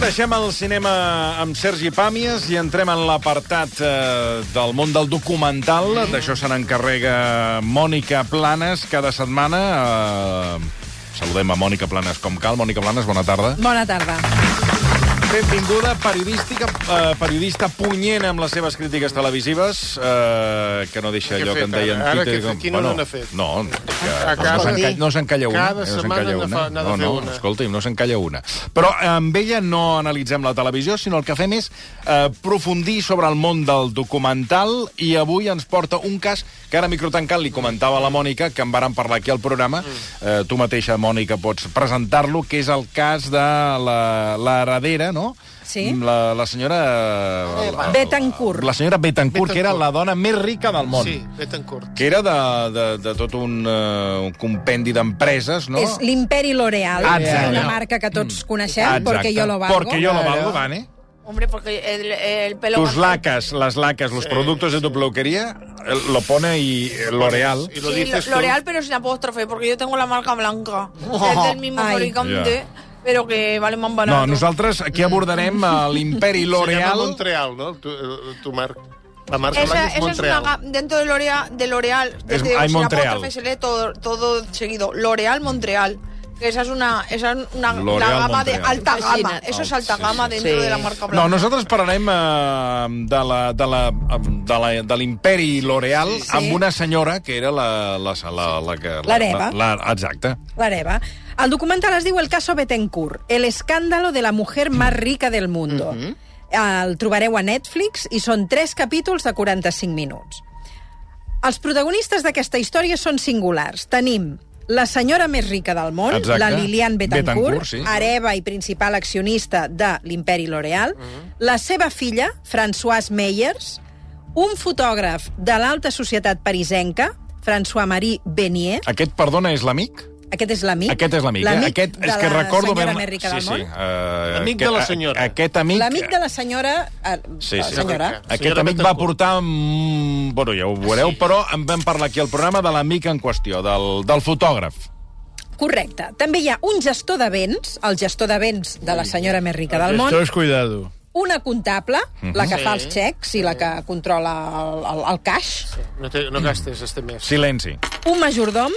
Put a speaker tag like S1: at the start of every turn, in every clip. S1: deixem el cinema amb Sergi Pàmies i entrem en l'apartat eh, del món del documental. D'això se n'encarrega Mònica Planes cada setmana. Eh, saludem a Mònica Planes com cal. Mònica Planes, bona tarda.
S2: Bona tarda.
S1: Benvinguda, periodística, eh, periodista punyent amb les seves crítiques televisives, eh, que no deixa
S3: Què
S1: allò
S3: he
S1: que en
S3: fet,
S1: deien
S3: ara? Ara
S1: Twitter.
S3: què he fet? Quina no n'ha fet?
S1: No, no, dic que
S3: A
S1: no,
S3: cada-
S1: se'n ca- no se'n calla una.
S3: cada
S1: no se'n
S3: setmana
S1: calla
S3: n'ha
S1: una.
S3: fa- n'ha de
S1: no,
S3: fer
S1: no,
S3: una.
S1: escolta, no se'n calla una. Però amb ella no analitzem la televisió, sinó el que fem és eh, aprofundir sobre el món del documental i avui ens porta un cas que ara microtancant li comentava a la Mònica, que en varen parlar aquí al programa. Eh, tu mateixa, Mònica, pots presentar-lo, que és el cas de la, la heredera, no? Mm,
S2: Sí.
S1: La, la senyora... la-
S2: Betancourt.
S1: La senyora Betancourt, que era la dona més rica del món
S3: Sí, fet en curt.
S1: que era de, de, de tot un, uh, un compendi d'empreses, no? Ah,
S2: No. És l'imperi L'Oreal,
S1: Exacte. Mm. Ah,
S2: una marca que tots coneixem,
S1: Exacte.
S2: perquè jo lo valgo.
S1: Porque yo lo valgo, Vane.
S4: Hombre, porque el, el pelo...
S1: Tus lacas, las lacas, los productos de tu peluquería, eh, lo pone y eh, L'Oreal.
S3: Y lo
S4: Sí,
S3: dices tú.
S4: L'Oreal, pero sin apóstrofe, porque yo tengo la marca blanca. Es del mismo
S2: Ay.
S4: fabricante,
S1: Ya.
S4: pero que vale más barato.
S1: No, nosaltres aquí abordarem eh, l'imperi
S3: Se llama
S1: L'Oreal.
S3: Montreal, ¿no? Tu, eh, tu mar- La marca
S4: Esa,
S3: blanca es
S4: esa es una
S3: Montreal.
S4: ga- dentro de L'Oreal, de L'Oreal, ya
S1: Es-
S4: te digo,
S1: hay
S4: sin
S1: Montreal.
S4: apóstrofe se lee todo, todo seguido. L'Oreal Montreal. Que esa es una, esa es una la
S1: L'Oreal
S4: gama de
S1: Montreal.
S4: alta gama.
S5: Imagina.
S4: Eso es alta
S1: Sí,
S4: gama
S1: sí.
S4: dentro
S5: Sí.
S4: de la marca blanca.
S1: No, nosaltres parlarem eh, de la- de la- de la- de l'imperi L'Oreal
S2: Sí.
S1: amb una senyora que era la... la, la, la, que-
S2: L'hereva.
S1: la, la exacte.
S2: L'hereva. El documental es diu El caso Betancourt, el escándalo de la mujer más rica del mundo.
S1: Mm-hmm.
S2: El trobareu a Netflix i són tres capítols de 45 minuts. Els protagonistes d'aquesta història són singulars. Tenim la senyora més rica del món,
S1: Exacte.
S2: la Lilian Betancourt,
S1: Betancourt, sí.
S2: hereva i principal accionista de l'imperi L'Oreal,
S1: Mm-hmm.
S2: la seva filla, Françoise Meyers, un fotògraf de l'alta societat parisenca, François-Marie Benier,
S1: Aquest, perdona, és l'amic?
S2: aquest és l'amic.
S1: Aquest és l'amic, eh?
S2: L'amic
S1: Aquest
S2: de
S1: és que
S2: la
S1: recordo
S2: senyora
S1: ben-
S2: més rica del
S1: sí,
S2: món.
S1: Sí, uh,
S3: Amic de la senyora.
S1: Aquest amic...
S2: L'amic de la senyora... eh,
S1: Sí,
S2: la
S1: sí.
S2: senyora.
S3: Correcte.
S1: Aquest
S3: Senyora
S1: amic va
S3: Betancourt.
S1: portar... mm, Bueno, ja ho veureu, sí. però en vam parlar aquí al programa de l'amic en qüestió, del, del fotògraf. eh.
S2: Correcte. També hi ha un gestor de béns, el gestor de béns de la senyora més rica del món,
S6: es cuidado.
S2: una comptable,
S1: Mhm.
S2: la que fa els xecs i la que controla el, el, el caix,
S3: No, te- no gastes este mes.
S1: Silenci.
S2: un majordom,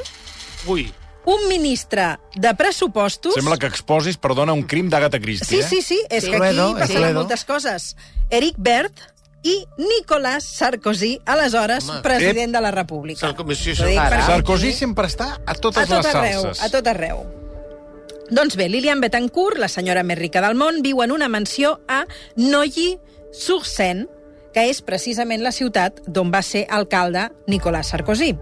S3: Uy,
S2: un ministre de pressupostos...
S1: Sembla que eh? exposis, perdona, un crim d'Agatha Christie,
S2: Sí, sí, sí, és
S6: Sí.
S2: que aquí
S6: Cluedo, és
S2: passen
S6: Cluedo.
S2: moltes coses. Eric Bert i Nicolas Sarkozy, aleshores
S3: Home.
S2: president de la República.
S3: Sarko- Monsieur
S2: Ho dic
S3: Sarkozy.
S2: perquè-
S1: Sarkozy sempre està a totes
S2: a tot
S1: les
S2: arreu,
S1: salses.
S2: A tot arreu. Doncs bé, Lilian Betancourt, la senyora més rica del món, viu en una mansió a Neuilly-sur-Seine, que és precisament la ciutat d'on va ser alcalde Nicolas Sarkozy.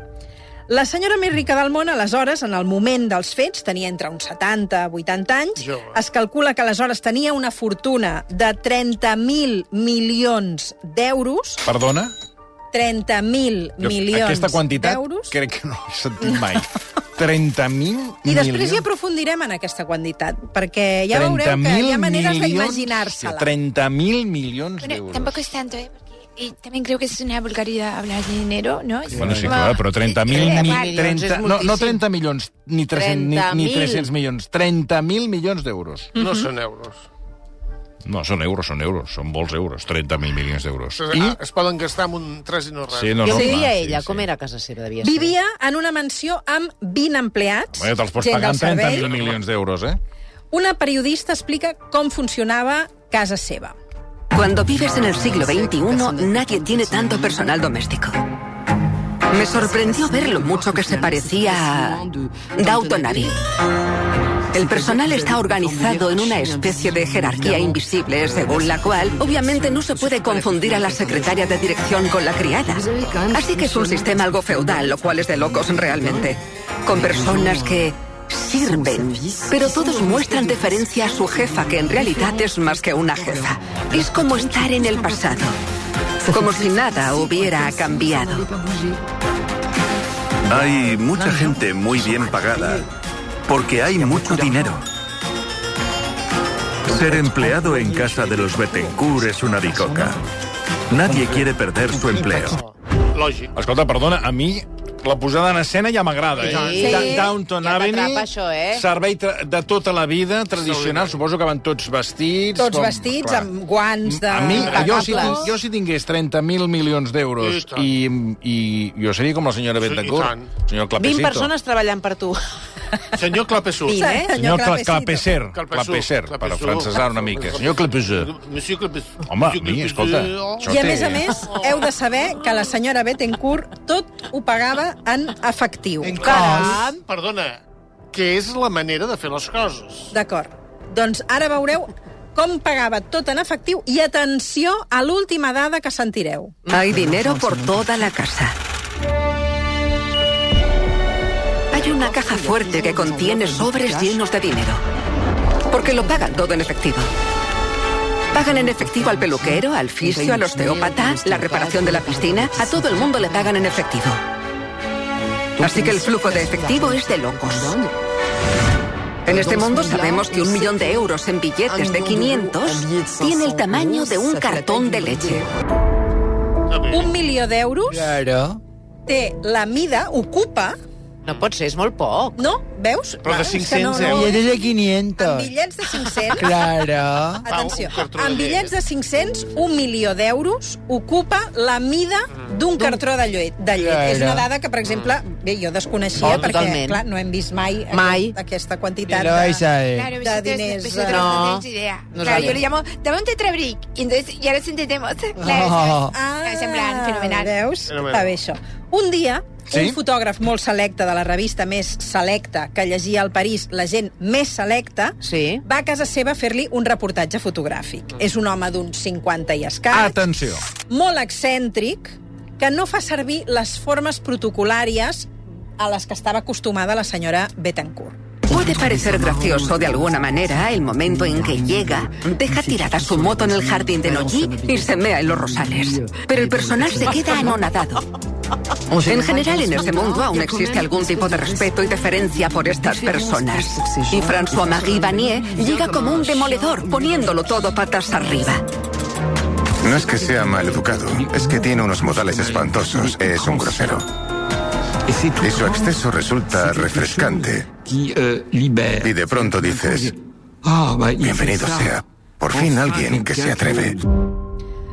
S2: La senyora més rica del món, aleshores, en el moment dels fets, tenia entre uns 70 i 80 anys.
S3: Jove.
S2: Es calcula que aleshores tenia una fortuna de 30.000 milions d'euros.
S1: Perdona?
S2: 30.000
S1: Jo-
S2: milions
S1: Aquesta quantitat
S2: d'euros.
S1: crec que no l'he sentit mai. 30.000 milions?
S2: I després hi aprofundirem en aquesta quantitat, perquè ja veureu que hi ha
S1: 30.000
S2: maneres
S1: milions?
S2: d'imaginar-se-la.
S1: 30.000 milions
S7: Bueno,
S1: d'euros.
S7: tampoco es tanto, ¿eh? Porque- y también creo que es una vulgaridad hablar de dinero, ¿no? Es
S1: Bueno, sí,
S7: como-
S1: clar, però 30.000...
S7: Eh,
S1: ni-
S7: vale.
S1: 30, no, no 30 milions, ni 300, ni, ni
S5: 30.000.
S1: 300 milions, 30.000 milions d'euros.
S3: no son euros.
S1: No, són euros, són euros, són molts euros, 30.000 milions d'euros. Ah,
S3: I... ah, Es poden gastar amb un tres i no res.
S1: Sí, no,
S5: Jo
S1: no,
S5: vivia
S1: clar,
S5: ella, com era a casa seva, devia ser.
S2: Vivia en una mansió amb 20 empleats,
S1: Bueno, te'ls pots
S2: gent
S1: pagar
S2: del
S1: amb
S2: servei.
S1: 30.000 milions d'euros, eh?
S2: Una periodista explica com funcionava casa seva.
S8: Cuando vives en el siglo XXI, nadie tiene tanto personal doméstico. Me sorprendió ver lo mucho que se parecía a Downton Abbey. El personal está organizado en una especie de jerarquía invisible, según la cual obviamente no se puede confundir a la secretaria de dirección con la criada. Así que es un sistema algo feudal, lo cual es de locos realmente. Con personas que sirven, pero todos muestran deferencia a su jefa, que en realidad es más que una jefa. Es como estar en el pasado, como si nada hubiera cambiado.
S9: Hay mucha gente muy bien pagada porque hay mucho dinero. Ser empleado en casa de los Bettencourt es una bicoca. Nadie quiere perder su empleo.
S3: Lògic.
S1: Escolta, perdona, a mi la posada en escena ja m'agrada, eh?
S5: Sí.
S1: Da- Downton
S5: Ja t'atrapa,
S1: Avenue,
S5: això, eh?
S1: servei tra- de tota la vida, tradicional, suposo que van tots vestits...
S2: Tots
S1: com-
S2: vestits,
S1: clar.
S2: amb guants
S5: Doncs
S2: de...
S1: A mi, jo si,
S2: impecables.
S1: tinc- jo si tingués 30.000 milions d'euros
S3: I tant.
S1: i, i jo seria com la senyora
S3: Sí,
S1: Bentancur,
S3: i tant.
S1: senyor
S5: 20
S1: Clapecito.
S5: persones treballant per tu.
S3: Senyor Clapesú.
S5: Vint, eh?
S1: Senyor Cla
S2: Clapecito.
S1: Clapecer,
S3: Clapesú.
S1: Clapecer, per
S3: Clapesú.
S1: francesar una mica. Senyor Clapecer.
S3: Monsieur Clapesú.
S1: Home, a
S3: Monsieur
S1: mi,
S3: Clapesú.
S1: escolta, això
S2: I a
S1: té-
S2: més a més, heu de saber que la senyora Bettencourt tot ho pagava en efectiu.
S5: Caram!
S3: Perdona, que és la manera de fer les coses.
S2: D'acord. Doncs ara veureu com pagava tot en efectiu i atenció a l'última dada que sentireu.
S8: Hay dinero por toda la casa. Hay una caja fuerte que contiene sobres llenos de dinero. Porque lo pagan todo en efectivo. Pagan en efectivo al peluquero, al fisio, al osteópata, la reparación de la piscina. A todo el mundo le pagan en efectivo. Así que el flujo de efectivo es de locos. En este mundo sabemos que un millón de euros en billetes de 500 tiene el tamaño de un cartón de leche.
S3: Està bé.
S2: Un milió d'euros té la mida, ocupa,
S5: No pot ser, és molt poc.
S2: no? Veus?
S3: Però
S2: Clar,
S3: de
S2: és que
S3: 500 euros.
S6: Billetes de
S2: Amb
S6: 500.
S2: bitllets de 500...
S6: Claro.
S2: Atenció,
S3: un cartró de
S2: amb bitllets de 500, un milió d'euros ocupa la mida
S3: Mm.
S2: d'un cartró de llet. De llet.
S6: Claro.
S2: És una dada que, per exemple, bé, jo desconeixia,
S5: Oh,
S2: perquè
S5: totalment.
S2: clar, no hem vist mai, aquest-
S5: Mai.
S2: aquesta quantitat
S6: Pero
S2: de...
S6: ahí sabe.
S7: Claro,
S2: De
S7: vosotros,
S2: diners,
S7: vosotros
S2: eh.
S7: no,
S5: No.
S7: tenéis idea.
S5: No
S7: claro,
S5: sabe.
S7: yo le llamo, dame un tetrabric. Y entonces, y ahora sí entendemos. Claro,
S6: Oh.
S7: ¿sabes? Es en plan, fenomenal.
S2: Ah, Veus?
S3: Fenomenal.
S2: Està bé, això. Un dia,
S1: Sí?
S2: sí? un fotògraf molt selecte de la revista més selecta que llegia al París, la gent més selecta,
S5: Sí.
S2: va a casa seva a fer-li un reportatge fotogràfic. És un home d'uns 50 i escaig.
S1: Atenció.
S2: molt excèntric que no fa servir les formes protocolàries a les que estava acostumada la senyora Betancourt.
S8: Puede parecer gracioso de alguna manera el momento en que llega, deja tirada su moto en el jardín de Noyí y se mea en los rosales. Pero el personal se queda anonadado. En general, en este mundo aún existe algún tipo de respeto y deferencia por estas personas. Y François-Marie Vanier llega como un demoledor, poniéndolo todo patas arriba.
S9: No es que sea mal educado, es que tiene unos modales espantosos, es un grosero. Y su exceso resulta refrescante. Y de pronto dices, bienvenido sea, por fin alguien que se atreve.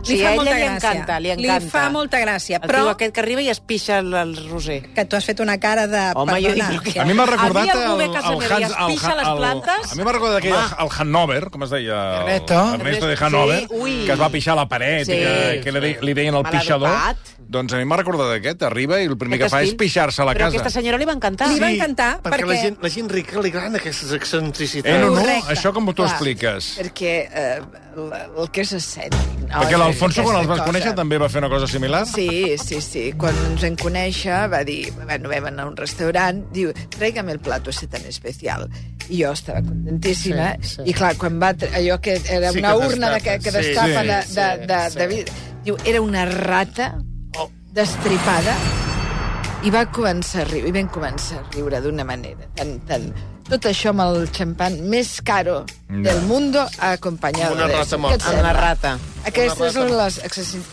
S5: Sí, a ella li encanta, li encanta.
S2: Li fa molta gràcia,
S5: El tio
S2: però
S5: aquest que arriba i es pixa el, el roser.
S2: que tu has fet una cara de...
S5: Home, jo
S2: perdona,
S5: dic que-
S1: A mi m'ha recordat
S5: A mi algú
S1: el,
S5: ve
S1: el
S5: a casa meva i
S1: Hans...
S5: es pixa les plantes. Ah.
S1: a mi m'ha recordat aquell, el Hanover, com es deia? El-
S6: Ernesto.
S1: Ernesto de
S5: Sí,
S1: Hanover,
S5: ui.
S1: que es va pixar a la paret i
S5: Sí.
S1: que, que li, de- li deien el
S5: Maladopat.
S1: pixador. Doncs a mi m'ha recordat aquest. Arriba i el primer que fa és
S5: Aquest estil.
S1: pixar-se a la
S5: Però
S1: casa.
S5: aquesta senyora li va encantar.
S2: Li va encantar,
S3: perquè...
S2: perquè-
S3: La, gent, la gent rica li agraden aquestes
S1: Eh,
S3: excentricitats.
S1: no, no,
S2: Correcte.
S1: això com t'ho
S10: Clar.
S1: expliques?
S10: Perquè eh, el, el que és escènic...
S2: Ah,
S10: No?
S1: Perquè l'Alfonso, quan els vas
S10: Aquesta
S1: conèixer,
S10: cosa.
S1: també va fer una cosa similar?
S10: Sí, sí, sí. Quan ens en conèixer va dir... Bueno, vam anar a un restaurant, diu, tráigame el plato ese tan especial. I jo estava contentíssima.
S3: Sí,
S10: Sí, sí.
S3: sí.
S10: I clar, quan va... tra- Allò que era
S3: Sí,
S10: una
S3: que
S10: urna de, que,
S3: destapa.
S10: que
S3: Sí,
S10: destapa
S1: sí,
S10: de,
S3: sí,
S10: de, de,
S3: sí.
S10: de, vidre. Diu, era una rata
S3: Oh.
S10: destripada i va començar a riure, i vam començar a riure d'una manera tan, tan... Tot això amb el xampan més caro del mundo acompanyado
S3: Una
S10: de...
S3: rata morta.
S10: Què et
S5: Amb la
S10: sembla?
S5: rata.
S10: Aquestes
S3: Una
S10: són
S3: rata.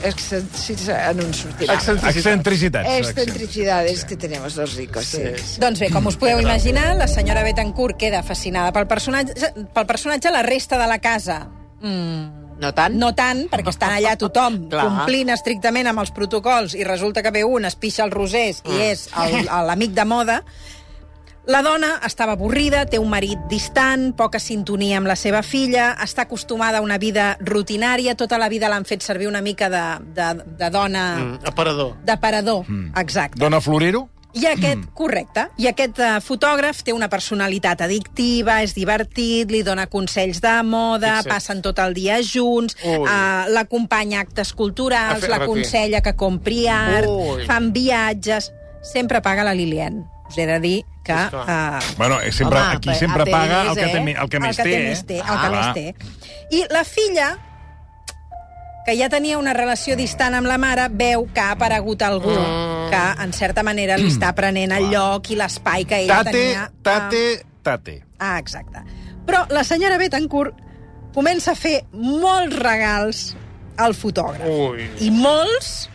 S10: les excentricidades... En un sortirà.
S1: Excentricitats.
S10: Excentricidades que tenemos los ricos, sí.
S2: Doncs bé, com us podeu imaginar, la senyora Betancourt queda fascinada pel personatge, pel personatge la resta de la casa. Mm,
S5: No tant?
S2: no tant, perquè estan allà tothom
S5: Clar.
S2: complint estrictament amb els protocols i resulta que ve un, es pixa els rosers i és el- el- l'amic de moda. La dona estava avorrida, té un marit distant, poca sintonia amb la seva filla, està acostumada a una vida rutinària, tota la vida l'han fet servir una mica de, de, de dona...
S3: Mm, aparador.
S2: de parador, exacte.
S1: Dona Florero?
S2: I
S3: Mm.
S2: aquest, correcte, i aquest eh, fotògraf té una personalitat addictiva, és divertit, li dona consells de moda,
S3: Fixa't.
S2: passen tot el dia junts,
S3: Ui.
S2: uh, l'acompanya a actes
S3: A
S2: culturals,
S3: fer-
S2: l'aconsella que compri art,
S3: Ui.
S2: fan viatges... Sempre paga la Lilian. Us he de dir que...
S3: Sí, clar.
S2: Uh,
S1: Bueno, eh, sempre,
S5: Home,
S1: aquí
S5: però
S1: sempre
S5: ATVs,
S1: paga el que,
S5: eh?
S1: té, mi- el que més
S2: el que
S1: té. eh?
S2: té més té, el
S5: Ah,
S2: que més té. I la filla, que ja tenia una relació distant amb la mare, veu que ha aparegut algú mm. que, en certa manera, li està prenent el lloc i l'espai que ella
S1: Tate,
S2: tenia.
S1: tate, tate.
S2: Ah, ah, exacte. Però la senyora Betancourt comença a fer molts regals al fotògraf.
S3: Ui.
S2: I molts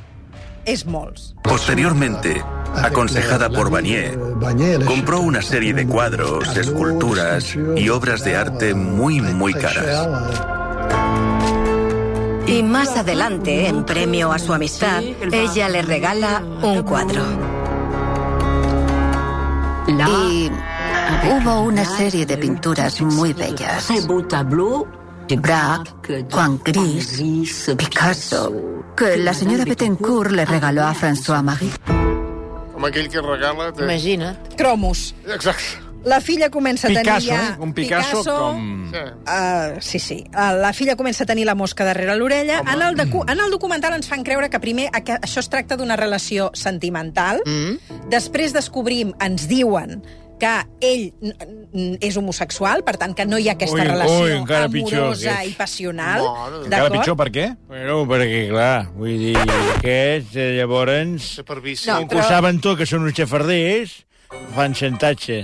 S2: es molts.
S6: Posteriormente, aconsejada por Vanier, compró una serie de cuadros, esculturas y obras de arte muy, muy caras.
S8: Y más adelante, en premio a su amistad, ella le regala un cuadro. Y hubo una serie de pinturas muy bellas. Braque, Juan Gris, Picasso, que la señora Bettencourt le regaló a François Marie.
S3: Amb aquell que regala... Té...
S5: Imagina't.
S2: Cromos.
S3: Exacte.
S2: La filla comença a tenir
S1: Picasso,
S2: ja...
S1: eh? Un Picasso, com...
S3: Sí.
S2: Uh, sí, sí. Uh, la filla comença a tenir la mosca darrere l'orella. En, el docu-
S1: Mm.
S2: en el documental ens fan creure que primer a- que això es tracta d'una relació sentimental. Mm. Després descobrim, ens diuen, que ell n- n- és homosexual, per tant, que no hi ha aquesta
S11: Ui,
S2: relació
S11: ui, encara pitjor,
S2: amorosa
S11: aquest.
S2: i passional.
S3: Mare de Déu.
S1: eh. Encara pitjor, per què?
S11: Bueno, perquè, clar, vull dir, aquests, eh, llavors,
S3: Ser per vici.
S11: com que ho saben tot, que són uns xafarders, fan xantatge.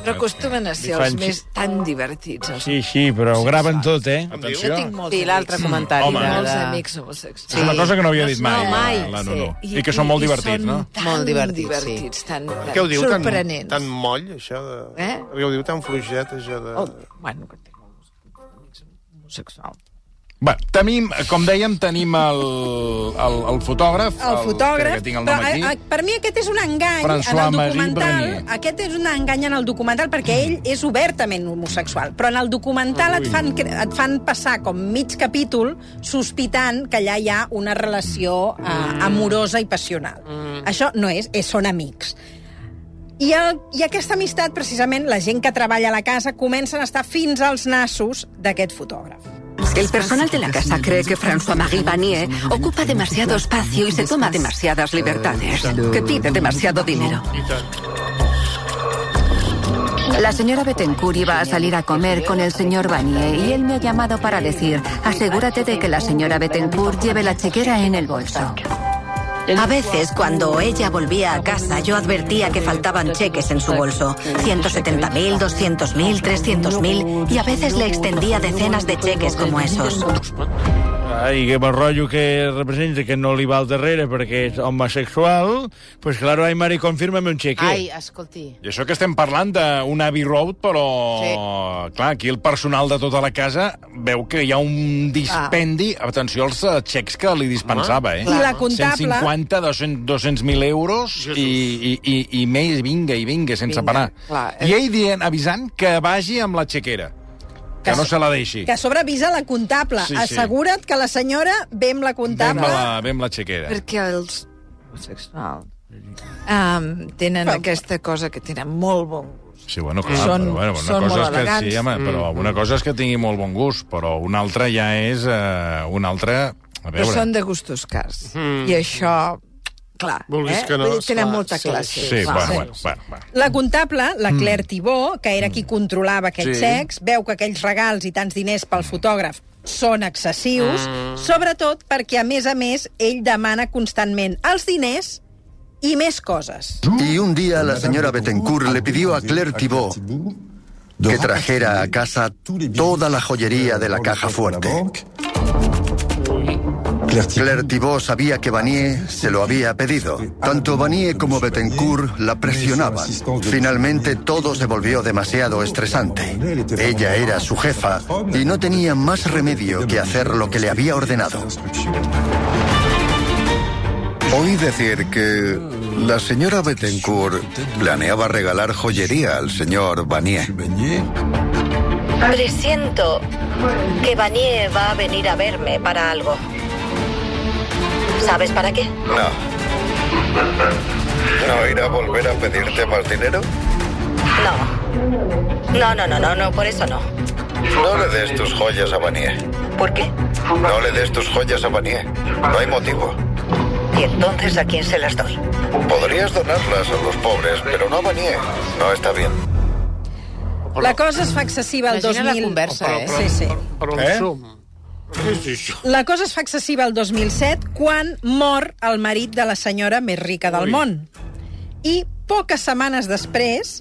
S10: Però acostumen a ser els
S11: Infància.
S10: més tan divertits.
S1: Ah.
S10: Els...
S11: Sí, sí, però ho graven tot, eh?
S10: Jo
S1: Atenció.
S10: tinc molts,
S5: Sí, l'altre comentari.
S1: home.
S5: de-
S10: molts
S5: de-
S10: amics homosexuals.
S1: És una cosa que no havia dit mai,
S5: No, mai,
S1: la Nunu. I que són molt divertits, no?
S10: Tan
S5: Molt divertits, sí.
S10: divertits, tan, tan
S3: Què ho diu tan,
S10: sorprenents.
S3: tan moll, això de...
S10: Eh?
S3: Què ho diu tan fluixet, això de...
S10: Oh, bueno, que tinc molts amics homosexuals.
S1: Bé, tenim, com dèiem, tenim el, el, el fotògraf.
S2: el fotògraf.
S1: Que tinc el nom
S2: però, eh,
S1: aquí.
S2: a, a, per mi aquest és un engany en
S1: François
S2: el
S1: Marie
S2: documental.
S1: Bernier.
S2: Aquest és un engany en el documental perquè ell és obertament homosexual. Però en el documental et fan, cre- et fan passar com mig capítol sospitant que allà hi ha una relació eh,
S1: Mm.
S2: amorosa i passional. Això no és, és són amics. I, el, I aquesta amistat, precisament, la gent que treballa a la casa comencen a estar fins als nassos d'aquest fotògraf.
S8: El personal de la casa cree que François-Marie Vanier ocupa demasiado espacio y se toma demasiadas libertades, que pide demasiado dinero. La señora Bettencourt iba a salir a comer con el señor Vanier y él me ha llamado para decir, asegúrate de que la señora Bettencourt lleve la chequera en el bolso.
S12: A veces, cuando ella volvía a casa, yo advertía que faltaban cheques en su bolso. 170.000, 200.000, 300.000. Y a veces le extendía decenas de cheques como esos.
S11: Ai, que el rotllo que representa que no li va al darrere perquè és homosexual, pues claro, ai, mare, confirma-me un xeque.
S5: Ai, escolti.
S1: I això que estem parlant d'un Abbey Road, però... Sí. Clar, aquí el personal de tota la casa veu que hi ha un dispendi... Ah. Atenció als eh, xecs que li dispensava, eh?
S2: I la comptable-
S1: 150, 200 200.000 euros i, i, i, i més, vinga, i vinga, sense
S10: Vinga,
S1: parar.
S10: clar.
S2: eh.
S1: I ell dient, avisant que vagi amb la xequera, que,
S2: Que
S1: no
S2: s-
S1: se la deixi.
S2: Que a sobre avisa la comptable.
S1: Sí,
S2: Sí,
S1: sí.
S2: sí. Assegura't que la senyora ve amb la
S1: Ve amb
S2: comptable.
S1: la, ve amb la xequera.
S10: Perquè els homosexuals um, tenen aquesta cosa que tenen molt bon gust.
S1: Sí, bueno, clar,
S10: Són-
S1: però bueno, una cosa
S10: són molt
S1: és que, sí,
S10: elegants. Mm.
S1: home, però una cosa és que tingui molt bon gust, però una altra ja és eh, una altra... A
S10: Però
S1: veure... Hmm.
S10: són de gustos cars. Mm. I això, clar, eh?
S3: Vulguis que no,
S10: Vull dir, tenen
S3: esclar,
S10: molta
S3: sí,
S10: classe.
S1: Sí,
S10: clar.
S1: bueno, bueno, bueno, bueno.
S2: La comptable, la Claire Tibó, que era qui controlava aquests
S1: Sí.
S2: sí. xecs, veu que aquells regals i tants diners pel fotògraf són excessius,
S1: Hmm.
S2: mm. sobretot perquè, a més a més, ell demana constantment els diners i més coses.
S9: Y un día la señora Bettencourt le pidió a Claire Thibault que trajera a casa toda la joyería de la caja fuerte. Claire Thibault sabía que Vanier se lo había pedido. Tanto Vanier como Bettencourt la presionaban. Finalmente todo se volvió demasiado estresante. Ella era su jefa y no tenía más remedio que hacer lo que le había ordenado.
S6: Oí decir que la señora Bettencourt planeaba regalar joyería al señor Vanier.
S12: Presiento que Vanier va a venir a verme para algo. ¿Sabes para qué?
S6: No. ¿No irá a volver a pedirte más dinero?
S12: No. No, no, no, no, no, por eso no.
S6: No le des tus joyas a Vanier.
S12: ¿Por qué?
S6: No le des tus joyas a Vanier. No hay motivo.
S12: ¿Y entonces a quién se las doy?
S6: Podrías donarlas a los pobres, pero no a Vanier. No está bien.
S2: La cosa es fa excessiva el
S5: Imagina
S2: 2000...
S5: la conversa, eh?
S2: Sí, sí.
S3: Per on
S1: Eh?
S3: eh? som? Què és això?
S2: La cosa es fa excessiva el 2007 quan mor el marit de la senyora més rica del Ui. món. I poques setmanes després,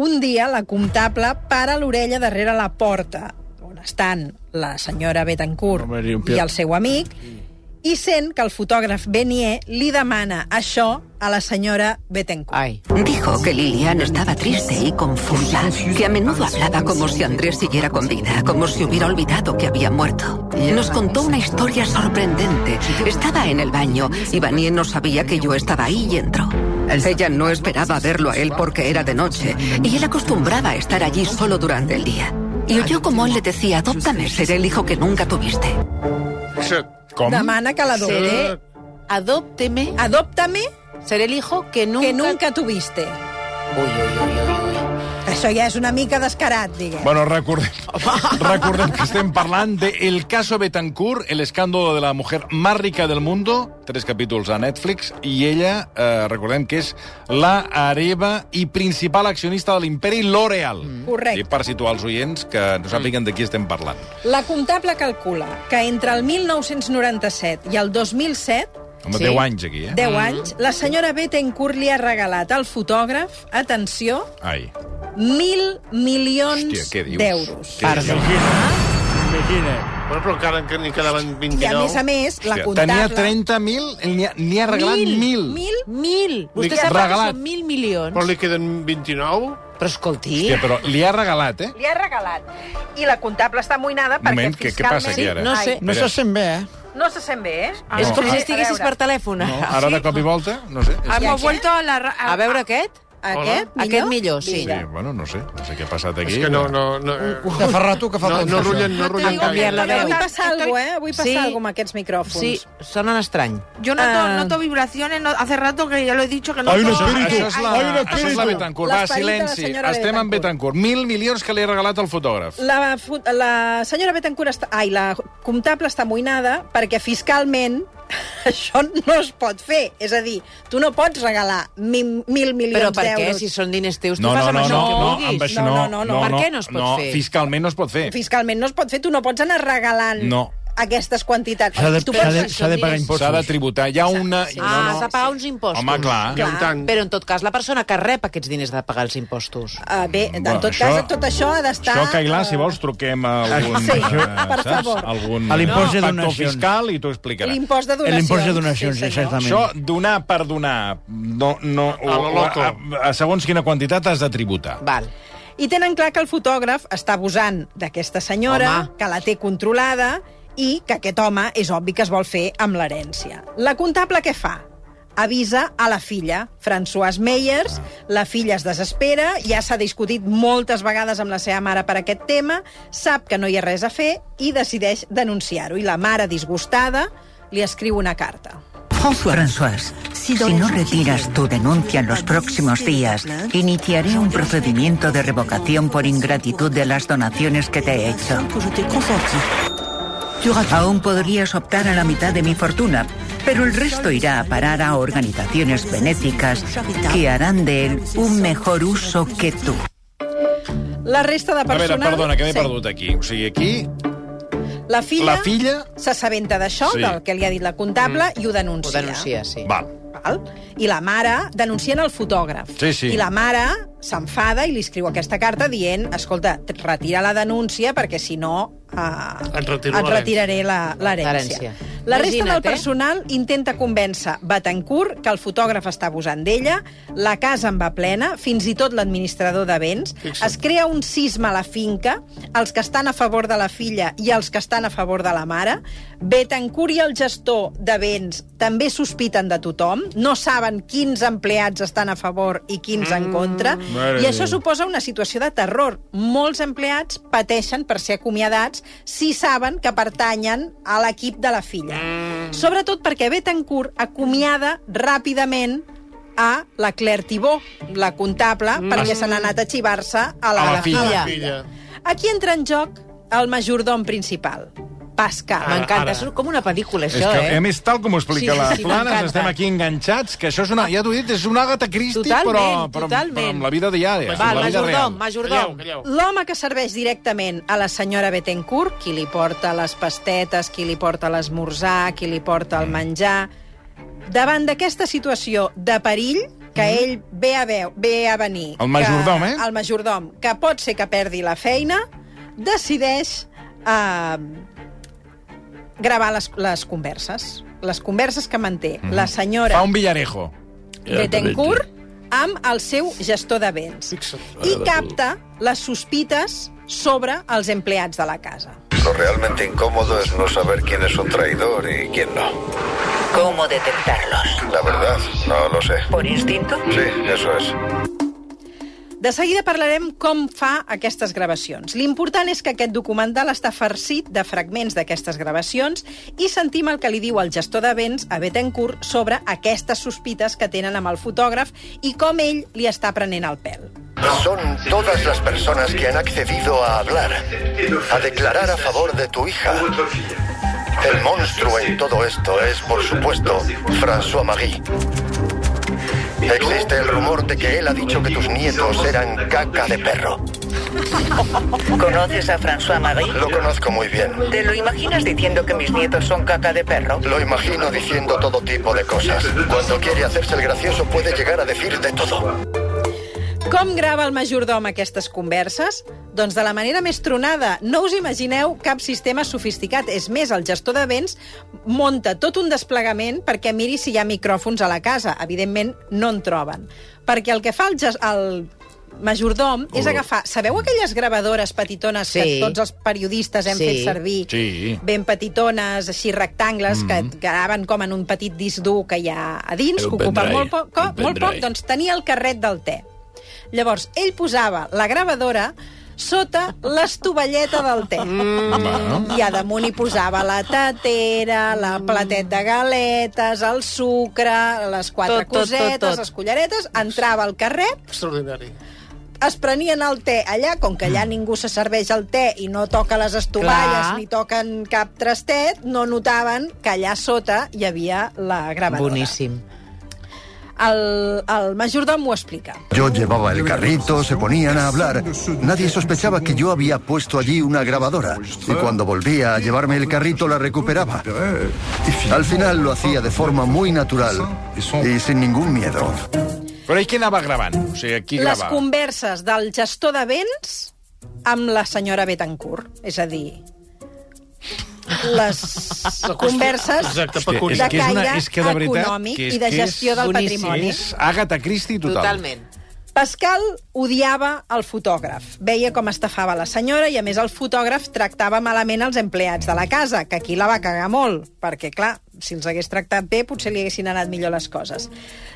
S2: un dia la comptable para l'orella darrere la porta on estan la senyora Betancourt
S11: Home, diu,
S2: i el seu amic i sent que el fotògraf Benier li demana això a la senyora Bettencourt.
S5: Ai.
S8: Dijo que Lilian estaba triste y confusa, que a menudo hablaba como si Andrés siguiera con vida, como si hubiera olvidado que había muerto. Nos contó una historia sorprendente. Estaba en el baño y Vanier no sabía que yo estaba ahí y entró. Ella no esperaba verlo a él porque era de noche y él acostumbraba a estar allí solo durante el día. Y oyó como él le decía, adóptame, seré el hijo que nunca tuviste.
S1: Com?
S2: Demana que l'adopti.
S5: Seré, adópteme,
S2: adóptame,
S5: seré el hijo Ah. que nunca...
S2: que nunca tuviste. Això ja és una mica descarat, diguem.
S1: Bueno, recordem, recordem que estem parlant de El caso Betancourt, el escándalo de la mujer más rica del mundo, tres capítols a Netflix, i ella, eh, recordem que és la hereva i principal accionista de l'imperi L'Oreal. Mm.
S2: Correcte.
S1: I per situar els oients que no sàpiguen de qui estem parlant.
S2: La comptable calcula que entre el 1997 i el 2007
S1: Home, sí. 10 anys aquí, eh?
S2: 10 anys, la senyora Bettencourt li ha regalat al fotògraf, atenció,
S1: Ai.
S2: mil
S1: Hòstia,
S2: milions
S1: què dius?
S2: d'euros.
S1: Què dius?
S5: Ah?
S11: Imagina.
S3: Bueno, però encara que n'hi quedaven 29.
S2: I a més a més, la
S1: Hòstia,
S2: comptable...
S1: tenia 30.000, n'hi ha, n'hi ha regalat 1.000.
S2: Mil?
S5: Mil. Vostè
S1: Li-
S5: sap que
S1: regalat.
S5: són mil milions.
S3: Però li queden 29?
S5: Però escolti...
S1: Hòstia, però li ha regalat, eh?
S2: Li ha regalat. I la comptable està amoïnada perquè
S1: Moment, què- què
S2: fiscalment...
S1: passa aquí ara?
S5: No sé,
S2: Ai,
S11: No
S1: Mira.
S11: se sent bé, eh?
S2: no se sent bé, eh?
S1: Ah,
S5: és
S1: no,
S5: com
S1: ara-
S5: si estiguessis
S2: A
S5: per
S2: veure.
S5: telèfon. eh? Ah.
S1: No, ara de cop i volta, no sé. És...
S2: Hemos
S7: Hemos vuelto
S2: vuelto
S7: a la...
S5: A veure aquest.
S2: Aquest, millor?
S5: Aquest millor, sí.
S1: Sí, bueno, no sé, no sé què ha passat aquí.
S3: És que no, no... no eh,
S11: De fa rato que fa
S3: No,
S11: compte,
S3: no
S11: això.
S3: rullen, no rullen
S5: digo que
S3: gaire.
S5: no,
S2: Però
S5: La
S2: avui
S5: veu.
S2: passa
S7: Estoy-
S2: alguna cosa, eh? Avui passa
S5: Sí.
S2: alguna cosa amb aquests micròfons.
S5: Sí, sonen estrany.
S7: Yo noto,
S2: Ah.
S7: noto vibraciones, no- hace rato que ya lo he dicho que no...
S11: Hay un
S7: noto-
S11: espíritu,
S1: Això és la,
S11: Ai, un
S1: això és la
S11: espíritu.
S1: Betancourt. Va,
S2: L'esperit de la
S1: silenci.
S2: senyora
S1: Estem en Betancourt. Mil milions que li he regalat al fotògraf.
S2: La, fu- la senyora Betancourt està... Ai, la comptable està amoïnada perquè fiscalment això no es pot fer. És a dir, tu no pots regalar mil, mil
S5: Però
S2: milions
S5: per què?
S2: d'euros.
S5: Si són diners teus, tu fas amb això el que
S1: amb
S5: vulguis.
S1: això no.
S2: No, no, no, no.
S5: Per què no es pot fer?
S1: Fiscalment no es pot fer.
S2: Fiscalment no es pot fer, tu no pots anar regalant
S1: No.
S2: aquestes quantitats.
S11: S'ha de,
S2: tu
S11: s'ha
S2: pots...
S11: de, s'ha de pagar impostos.
S1: S'ha de tributar. Hi ha una...
S5: Ah, s'ha de pagar uns impostos.
S1: Home, clar.
S3: Que un tant.
S5: Però, en tot cas, la persona que rep aquests diners ha de pagar els impostos.
S2: Uh, bé, en
S1: Bueno,
S2: tot
S1: això-
S2: cas, tot això ha d'estar...
S1: Això, Cailà,
S2: eh,
S1: si vols, truquem a algun...
S2: Sí,
S1: eh,
S2: per
S1: saps?
S2: favor.
S1: Algun
S11: A l'impost de
S1: factor
S11: donacions.
S1: fiscal i t'ho explicarà.
S2: L'impost de donacions.
S11: L'impost de donacions,
S2: sí, senyor.
S11: exactament.
S1: Això, donar per donar, no, no,
S3: A lo loco.
S1: a, a segons quina quantitat has de tributar.
S5: Val.
S2: I tenen clar que el fotògraf està abusant d'aquesta senyora,
S5: Home.
S2: que la té controlada, i que aquest home és obvi que es vol fer amb l'herència. La comptable què fa? avisa a la filla, Françoise Meyers. La filla es desespera, ja s'ha discutit moltes vegades amb la seva mare per aquest tema, sap que no hi ha res a fer i decideix denunciar-ho. I la mare, disgustada, li escriu una carta.
S13: François, si no retiras tu denuncia en los próximos días, iniciaré un procedimiento de revocación por ingratitud de las donaciones que te he hecho. Aún podrías optar a la mitad de mi fortuna, pero el resto irá a parar a organizaciones benéficas que harán de él un mejor uso que tú.
S2: La resta de
S1: A
S2: personal...
S1: veure, perdona, que m'he perdut aquí. O sigui, aquí
S2: La filla,
S1: La filla-
S2: s'assabenta d'això,
S1: Sí.
S2: sí. del que li ha dit la comptable, mm. i ho
S5: Ho
S2: denuncia.
S5: denuncia, sí.
S1: Val.
S2: Val? I la mare denuncien el fotògraf.
S1: Sí, sí.
S2: I la mare s'enfada i li escriu aquesta carta dient escolta, t- retira la denúncia perquè si no eh,
S3: Et retiro
S2: et
S3: l'herència."
S2: retiraré la- l'herència.
S5: L'herència.
S2: La resta del
S5: Imagina't, eh?
S2: personal intenta convèncer Betancourt que el fotògraf està abusant d'ella, la casa en va plena, fins i tot l'administrador de béns, es crea un sisme a la finca, els que estan a favor de la filla i els que estan a favor de la mare. Betancourt i el gestor de béns també sospiten de tothom, no saben quins empleats estan a favor i quins en contra,
S11: mare
S2: i això
S11: de Déu.
S2: suposa una situació de terror. Molts empleats pateixen per ser acomiadats si saben que pertanyen a l'equip de la filla.
S1: Mm.
S2: Sobretot perquè Betancourt acomiada ràpidament a la Claire Thibault, la comptable, perquè se n'ha anat a xivar-se a la,
S1: Mm. A la filla.
S3: La filla.
S2: Aquí entra en joc el majordom principal, Pascal.
S5: M'encanta, és com una pel·lícula,
S1: És
S5: això,
S1: que, a
S5: eh?
S1: més, tal com ho explica
S5: Sí,
S1: la
S5: sí,
S1: Planes,
S5: m'encanta.
S1: estem aquí enganxats, que això és una... Ja t'ho he dit, és una Agatha Christie,
S5: Totalment,
S1: però, però,
S5: totalment.
S1: però amb la vida diària. amb
S5: Val,
S1: la vida
S5: majordom,
S1: real.
S3: Calleu,
S5: majordom.
S3: calleu.
S2: L'home que serveix directament a la senyora Betancourt, qui li porta les pastetes, qui li porta l'esmorzar, qui li porta
S1: Mm.
S2: el menjar... Davant d'aquesta situació de perill, que ell ve a, veu, ve a venir...
S1: Mm. El majordom,
S2: que,
S1: eh?
S2: El majordom, que pot ser que perdi la feina, decideix eh, ehm, gravar les, les converses. Les converses que manté la senyora...
S1: Mm. Fa un villarejo.
S2: Betancourt amb el seu gestor de béns i capta les sospites sobre els empleats de la casa.
S14: Lo realmente incómodo es no saber quién es un traidor y quién no.
S15: ¿Cómo detectarlos?
S14: La verdad, no lo sé.
S15: ¿Por instinto?
S14: Sí, eso es.
S2: De seguida parlarem com fa aquestes gravacions. L'important és que aquest documental està farcit de fragments d'aquestes gravacions i sentim el que li diu el gestor de béns a Betancourt sobre aquestes sospites que tenen amb el fotògraf i com ell li està prenent el pèl.
S14: Son todas las personas que han accedido a hablar, a declarar a favor de tu hija. El monstruo en todo esto es, por supuesto, François Marie. Existe el rumor de que él ha dicho que tus nietos eran caca de perro.
S15: ¿Conoces a François Marie?
S14: Lo conozco muy bien.
S15: ¿Te lo imaginas diciendo que mis nietos son caca de perro?
S14: Lo imagino diciendo todo tipo de cosas. Cuando quiere hacerse el gracioso puede llegar a decir de todo.
S2: Com grava el majordom aquestes converses? Doncs de la manera més tronada. No us imagineu cap sistema sofisticat. És més, el gestor de béns monta tot un desplegament perquè miri si hi ha micròfons a la casa. Evidentment, no en troben. Perquè el que fa el, ges- el majordom és agafar... Sabeu aquelles gravadores petitones que
S5: Sí.
S2: tots els periodistes hem
S5: Sí.
S2: fet servir?
S5: Sí.
S2: Ben petitones, així rectangles, mm. que graven com en un petit disc dur que hi ha a dins,
S5: Era
S2: que
S5: un
S2: ocupa
S5: pendrive,
S2: molt, poc,
S5: un
S2: molt poc,
S5: pendrive.
S2: doncs tenia el carret del te. Llavors, ell posava la gravadora sota l'estovalleta del te. Mm. I a damunt hi posava la tatera, la
S3: Mm.
S2: platet de galetes, el sucre, les quatre
S3: Tot, tot, tot,
S2: cosetes,
S3: tot.
S2: les collaretes, entrava al carret,
S3: Extraordinari.
S2: es prenien el te allà, com que
S3: Mm.
S2: allà ningú se serveix el te i no toca les estovalles
S5: Clar.
S2: ni toquen cap trastet, no notaven que allà sota hi havia la gravadora.
S5: Boníssim.
S2: El, el majordom ho explica.
S9: Yo llevaba el carrito, se ponían a hablar. Nadie sospechaba que yo había puesto allí una grabadora. Y cuando volvía a llevarme el carrito la recuperaba. Al final lo hacía de forma muy natural y sin ningún miedo.
S1: Però ell què anava gravant? O sigui, qui
S2: les
S1: gravava?
S2: converses del gestor de béns amb la senyora Betancourt. És a dir, les converses
S1: Exacte,
S2: de
S1: peculiar. És que és
S2: caire
S1: una- és que de veritat
S2: econòmic
S1: que és-
S2: i de
S1: que és
S2: gestió del
S1: boníssim.
S2: patrimoni.
S1: És Agatha Christie total. Totalment.
S2: Pascal odiava el fotògraf. Veia com estafava la senyora i, a més, el fotògraf tractava malament els empleats de la casa, que aquí la va cagar molt, perquè, clar, si els hagués tractat bé, potser li haguessin anat millor les coses.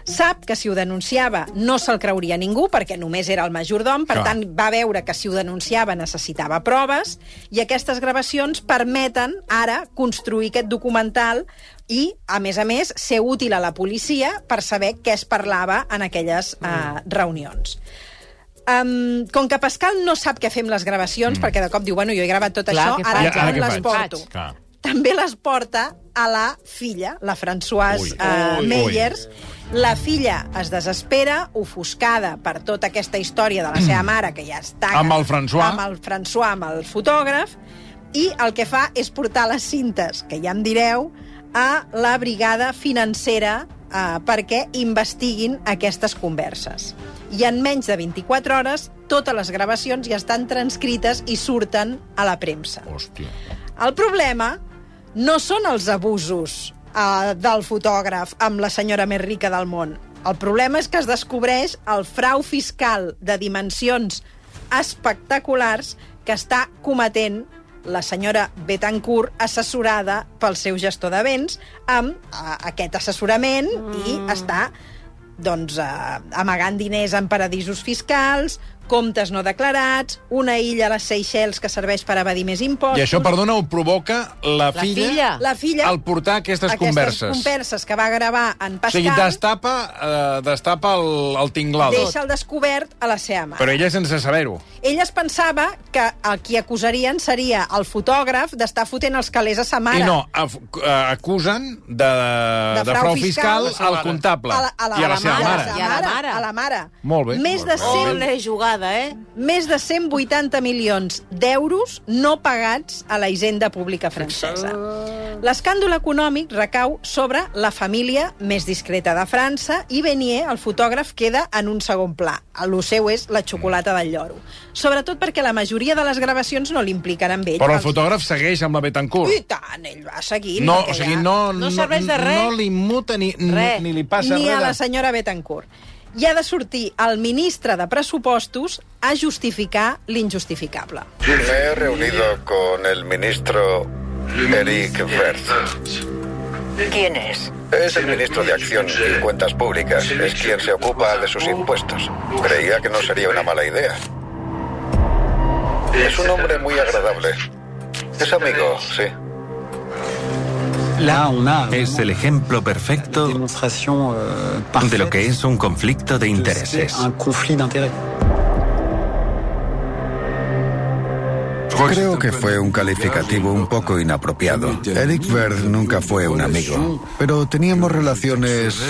S2: Sap que si ho denunciava no se'l creuria ningú, perquè només era el majordom, per
S16: Clar.
S2: tant, va veure que si ho denunciava necessitava proves, i aquestes gravacions permeten ara construir aquest documental i, a més a més, ser útil a la policia per saber què es parlava en aquelles
S5: Mm.
S2: eh, reunions. Um, com que Pascal no sap què fer amb les gravacions, perquè de cop diu, bueno, jo he gravat tot
S5: Mm. Clar, què
S2: això, ara,
S5: faig? Ara
S2: ara
S5: què
S2: les
S5: faig?
S2: porto. També les porta a la filla, la Françoise
S5: Ui.
S2: eh,
S5: Ui.
S2: Meyers. La filla es desespera, ofuscada per tota aquesta història de la seva mare, que ja està...
S1: Amb el François.
S2: Amb el François, amb el fotògraf. I el que fa és portar les cintes, que ja em direu, a la brigada financera eh, perquè investiguin aquestes converses. I en menys de 24 hores, totes les gravacions ja estan transcrites i surten a la premsa.
S1: Hòstia.
S2: El problema no són els abusos eh, del fotògraf amb la senyora més rica del món. El problema és que es descobreix el frau fiscal de dimensions espectaculars que està cometent la senyora Betancourt, assessorada pel seu gestor de béns, amb eh, aquest assessorament i està doncs, eh, amagant diners en paradisos fiscals, comptes no declarats, una illa a les Seychelles que serveix per evadir més impostos...
S1: I això, perdona, ho provoca la,
S2: La
S1: Ah.
S2: filla. La filla.
S1: al portar aquestes,
S2: aquestes
S1: converses.
S2: converses que va gravar en
S1: O
S2: Pascal,
S1: sigui, destapa, eh, destapa el, el tinglado.
S2: deixa el descobert a la seva mare.
S1: Però ella sense saber-ho.
S2: Ell es pensava que el qui acusarien seria el fotògraf d'estar fotent els calés a sa mare.
S1: I no, af- eh, acusen de, de,
S2: frau
S1: frau
S2: fiscal
S1: fiscal, al comptable.
S2: A la, a la,
S1: I a la seva mare.
S2: I a la mare. A la mare.
S1: Molt bé.
S2: Més
S1: molt
S2: de
S1: bé.
S2: 100,
S5: vegada, eh?
S2: Més de 180 milions d'euros no pagats a la hisenda pública francesa. L'escàndol econòmic recau sobre la família més discreta de França i Benier, el fotògraf, queda en un segon pla. El seu és la xocolata del lloro. Sobretot perquè la majoria de les gravacions no l'impliquen amb ell.
S1: Però el fotògraf segueix amb la Betancourt.
S2: I tant, ell va seguint.
S1: No,
S2: perquè
S1: o sigui,
S2: ja-
S1: no,
S2: No serveix de res.
S1: No li muta ni, ni,
S2: Res.
S1: ni li passa
S2: ni
S1: res.
S2: a
S1: de-
S2: la senyora Betancourt. I ha de sortir el ministre de Pressupostos a justificar l'injustificable.
S14: Me he reunido con el ministro Eric Verth.
S15: ¿Quién es?
S14: Es el ministro de Acción y Cuentas Públicas. Es quien se ocupa de sus impuestos. Creía que no sería una mala idea. Es un hombre muy agradable. Es amigo, sí.
S6: Es el ejemplo perfecto de lo que es un conflicto de intereses.
S9: Creo que fue un calificativo un poco inapropiado. Eric Berg nunca fue un amigo, pero teníamos relaciones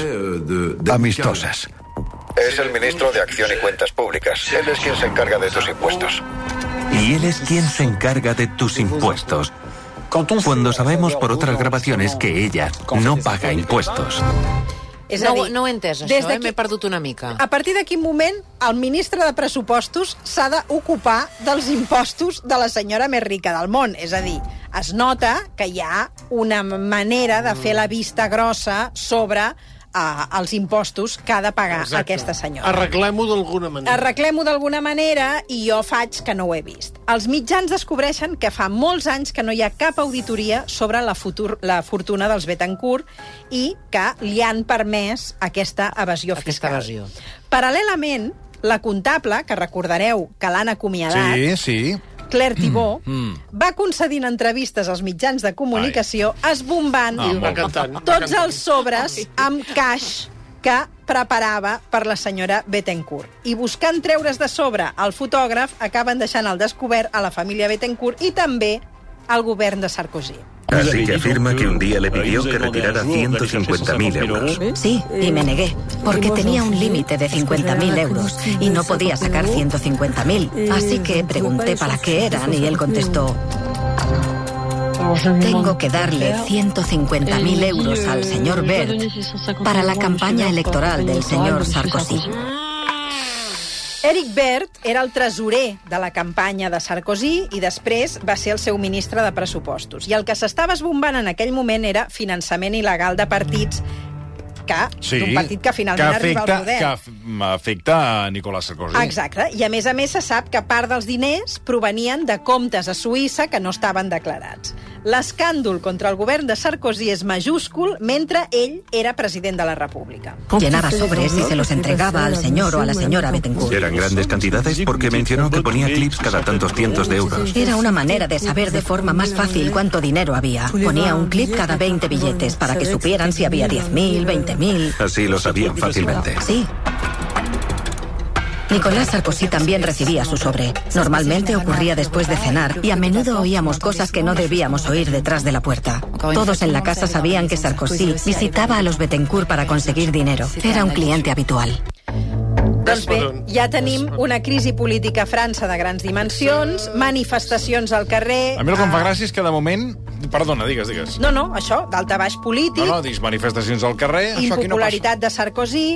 S9: amistosas.
S14: Es el ministro de Acción y Cuentas Públicas. Él es quien se encarga de tus impuestos.
S6: Y él es quien se encarga de tus impuestos. Cuando sabemos por otras grabaciones que ella no paga impuestos.
S2: És
S5: no,
S2: a dir,
S5: ho- no ho he entès, això,
S2: des
S5: eh?
S2: d'aquí-
S5: M'he perdut una mica.
S2: A partir d'aquí moment, el ministre de Pressupostos s'ha d'ocupar dels impostos de la senyora més rica del món. És a dir, es nota que hi ha una manera de fer la vista grossa sobre eh, els impostos que ha de pagar Exacte. aquesta senyora.
S3: Arreglem-ho d'alguna manera.
S2: Arreglem-ho d'alguna manera i jo faig que no ho he vist. Els mitjans descobreixen que fa molts anys que no hi ha cap auditoria sobre la, futur, la fortuna dels Betancourt i que li han permès aquesta evasió
S5: Aquesta
S2: fiscal.
S5: evasió.
S2: Paral·lelament, la comptable, que recordareu que l'han acomiadat,
S1: Sí, sí.
S2: Claire Thibault,
S1: Mm.
S2: va concedint entrevistes als mitjans de comunicació esbombant
S3: Ah, I va molt. cantant, va
S2: tots
S3: cantant.
S2: els sobres amb caix que preparava per la senyora Bettencourt. I buscant treure's de sobre el fotògraf, acaben deixant al descobert a la família Bettencourt i també al govern de Sarkozy.
S6: Así que afirma que un día le pidió que retirara 150.000 euros.
S12: Sí, y me negué, porque tenía un límite de 50.000 euros y no podía sacar 150.000. Así que pregunté para qué eran y él contestó, tengo que darle 150.000 euros al señor Bert para la campaña electoral del señor Sarkozy.
S2: Eric Bert era el tresorer de la campanya de Sarkozy i després va ser el seu ministre de Pressupostos. I el que s'estava esbombant en aquell moment era finançament il·legal de partits que,
S1: Sí,
S2: d'un partit que finalment
S1: que
S2: arriba
S1: afecta,
S2: al poder.
S1: Que af- afecta a Nicolás Sarkozy.
S2: Exacte. I a més a més se sap que part dels diners provenien de comptes a Suïssa que no estaven declarats. L'escàndol contra el govern de Sarkozy és majúscul mentre ell era president de la República.
S12: Llenaba sobres y se los entregaba al señor o a la senyora Bettencourt.
S6: Eran grandes cantidades porque mencionó que ponía clips cada tantos cientos de euros.
S12: Era una manera de saber de forma más fácil cuánto dinero había. Ponía un clip cada 20 billetes para que supieran si había 10.000, 20.000.
S6: Así lo sabían fácilmente.
S12: Sí. Nicolás Sarkozy también recibía su sobre. Normalmente ocurría después de cenar y a menudo oíamos cosas que no debíamos oír detrás de la puerta. Todos en la casa sabían que Sarkozy visitaba a los Bettencourt para conseguir dinero. Era un cliente habitual.
S2: Doncs bé, ja tenim una crisi política a França de grans dimensions, manifestacions al carrer... eh,
S1: A mi el que em fa gràcia és que de moment... Perdona, digues, digues.
S2: No, no, això, d'alta baix polític,
S1: No, no, dius manifestacions al carrer, això aquí no passa.
S2: impopularitat de Sarkozy...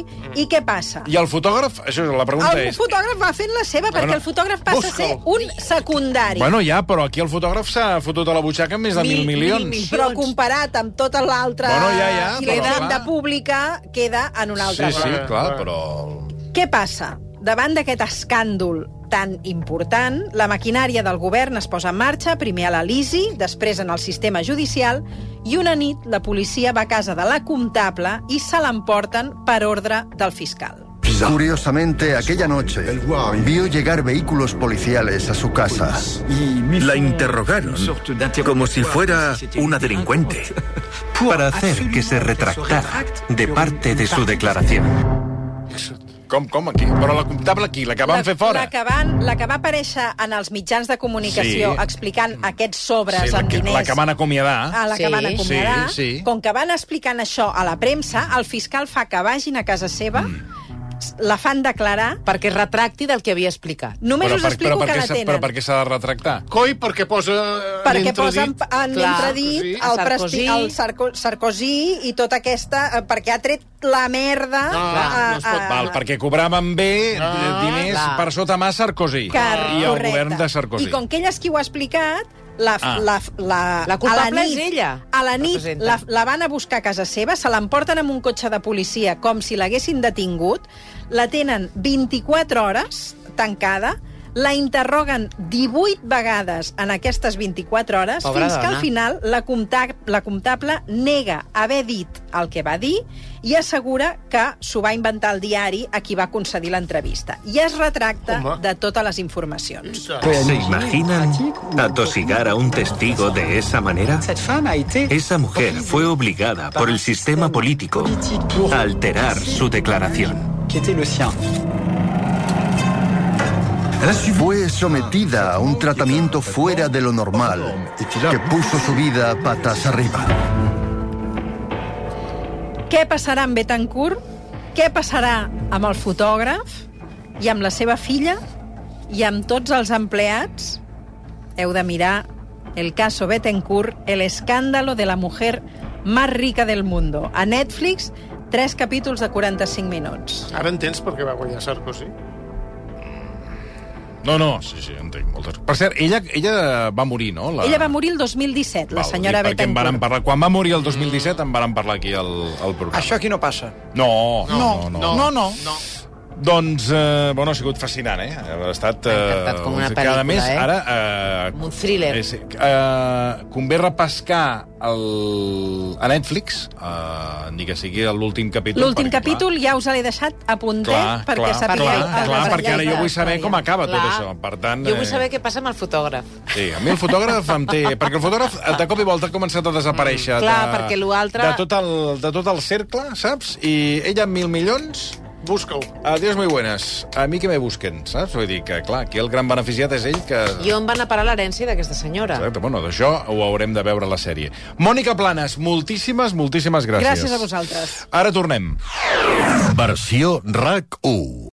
S2: I què passa?
S1: I el fotògraf, això és la pregunta
S2: El
S1: és...
S2: fotògraf va fent la seva, perquè
S1: Bueno,
S2: el fotògraf passa a ser un secundari.
S1: Bueno, ja, però aquí el fotògraf s'ha fotut a la butxaca més de mil, milions.
S2: Però comparat amb tota l'altra
S1: Bueno, ja, ja,
S2: i
S1: però
S2: la
S1: clar.
S2: de pública, queda en un altre
S1: Sí, sí,
S2: bloc.
S1: clar, però...
S2: Què passa? Davant d'aquest escàndol tan important, la maquinària del govern es posa en marxa, primer a l'Elisi, després en el sistema judicial, i una nit la policia va a casa de la comptable i se l'emporten per ordre del fiscal.
S14: Curiosamente, aquella noche vio llegar vehículos policiales a su casa.
S6: La interrogaron como si fuera una delincuente para hacer que se retractara de parte de su declaración.
S1: Com, com, aquí? Però la comptable aquí, la que van
S2: la,
S1: fer fora.
S2: La que, van, la que va aparèixer en els mitjans de comunicació
S1: Sí.
S2: explicant aquests sobres
S1: Sí, la,
S2: amb
S1: que,
S2: diners...
S1: la que van acomiadar.
S2: a la sí. que van acomiadar.
S1: Sí, sí.
S2: Com que van explicant això a la premsa, el fiscal fa que vagin a casa seva, mm. la fan declarar...
S5: Perquè es retracti del que havia explicat.
S2: Només us explico
S1: per
S2: que
S1: què
S2: la
S1: s'ha-
S2: tenen.
S1: Però per què s'ha de retractar?
S3: Coi, perquè posa... eh,
S2: perquè posen en l'entredit
S3: sí.
S2: el,
S5: Sarkozy.
S2: Sarkozy. el Sarko Sarkozy i tota aquesta... eh, Perquè ha tret la merda... eh,
S1: Ah,
S2: eh,
S1: Val, perquè cobraven bé eh, diners
S2: clar.
S1: per sota mà Sarkozy.
S2: Ah. Car-
S1: I el
S2: correcte.
S1: govern de Sarkozy.
S2: I com que ella és qui ho ha explicat, la,
S1: Ah.
S2: ah. la, la,
S5: La culpable
S2: a la nit,
S5: és ella,
S2: A la nit
S5: representa.
S2: la, la van a buscar a casa seva, se l'emporten amb un cotxe de policia com si l'haguessin detingut, la tenen 24 hores tancada, la interroguen 18 vegades en aquestes 24 hores,
S5: Pobra
S2: fins que
S5: dona.
S2: al final la, compta la comptable nega haver dit el que va dir i assegura que s'ho va inventar el diari a qui va concedir l'entrevista. I es retracta
S6: Home.
S2: de totes les informacions.
S6: ¿Se imaginan atosigar a un testigo de esa manera? Esa mujer fue obligada por el sistema político a alterar su declaración.
S14: Fue sometida a un tratamiento fuera de lo normal que puso su vida patas arriba.
S2: Què passarà amb Betancourt? Què passarà amb el fotògraf? I amb la seva filla? I amb tots els empleats? Heu de mirar El caso Betancourt, el escándalo de la mujer más rica del mundo. A Netflix, tres capítols de 45 minuts.
S3: Ara entens per què va guanyar Sarkozy?
S1: No, no, sí, sí, entenc moltes Per cert, ella, ella va morir, no?
S2: La... Ella va morir el 2017, la
S1: Val,
S2: senyora
S1: dic perquè en varen
S2: Betancourt.
S1: parlar. Quan va morir el 2017 en varen parlar aquí al, al programa.
S16: Això aquí no passa.
S1: No, no, no.
S16: no.
S1: no.
S16: no.
S1: Doncs, eh, bueno, ha sigut fascinant, eh? Ha estat... Eh,
S5: encantat, com una
S1: Cada
S5: pel·lícula,
S1: mes,
S5: eh?
S1: ara... Eh,
S5: Un thriller.
S1: És, eh, convé repescar el, a Netflix, eh, ni que sigui l'últim capítol.
S2: L'últim
S1: perquè, clar,
S2: capítol ja us l'he deixat
S5: eh?
S2: apuntet
S1: Clar,
S2: perquè
S1: clar,
S2: sapigueu...
S1: clar,
S2: el
S1: clar,
S2: desglaç
S1: perquè ara
S2: de
S1: jo
S2: la
S1: vull saber
S2: història.
S1: com acaba tot
S5: Clar.
S1: això. Per tant,
S5: Jo vull
S1: eh,
S5: saber què passa amb el fotògraf.
S1: Sí, a mi el fotògraf em té... perquè el fotògraf eh, de cop i volta ha començat a desaparèixer.
S5: Mm, clar,
S1: de,
S5: perquè lo altre-
S1: De tot, el, de tot el cercle, saps? I ella amb mil milions...
S3: Busca-ho.
S1: Adiós, muy buenas. A mi que me busquen, saps? Vull dir que, clar, aquí el gran beneficiat és ell que...
S5: I on van a parar l'herència d'aquesta senyora?
S1: Exacte, bueno, d'això ho haurem de veure a la sèrie. Mònica Planes, moltíssimes, moltíssimes gràcies.
S2: Gràcies a vosaltres.
S1: Ara tornem.
S14: Versió RAC 1.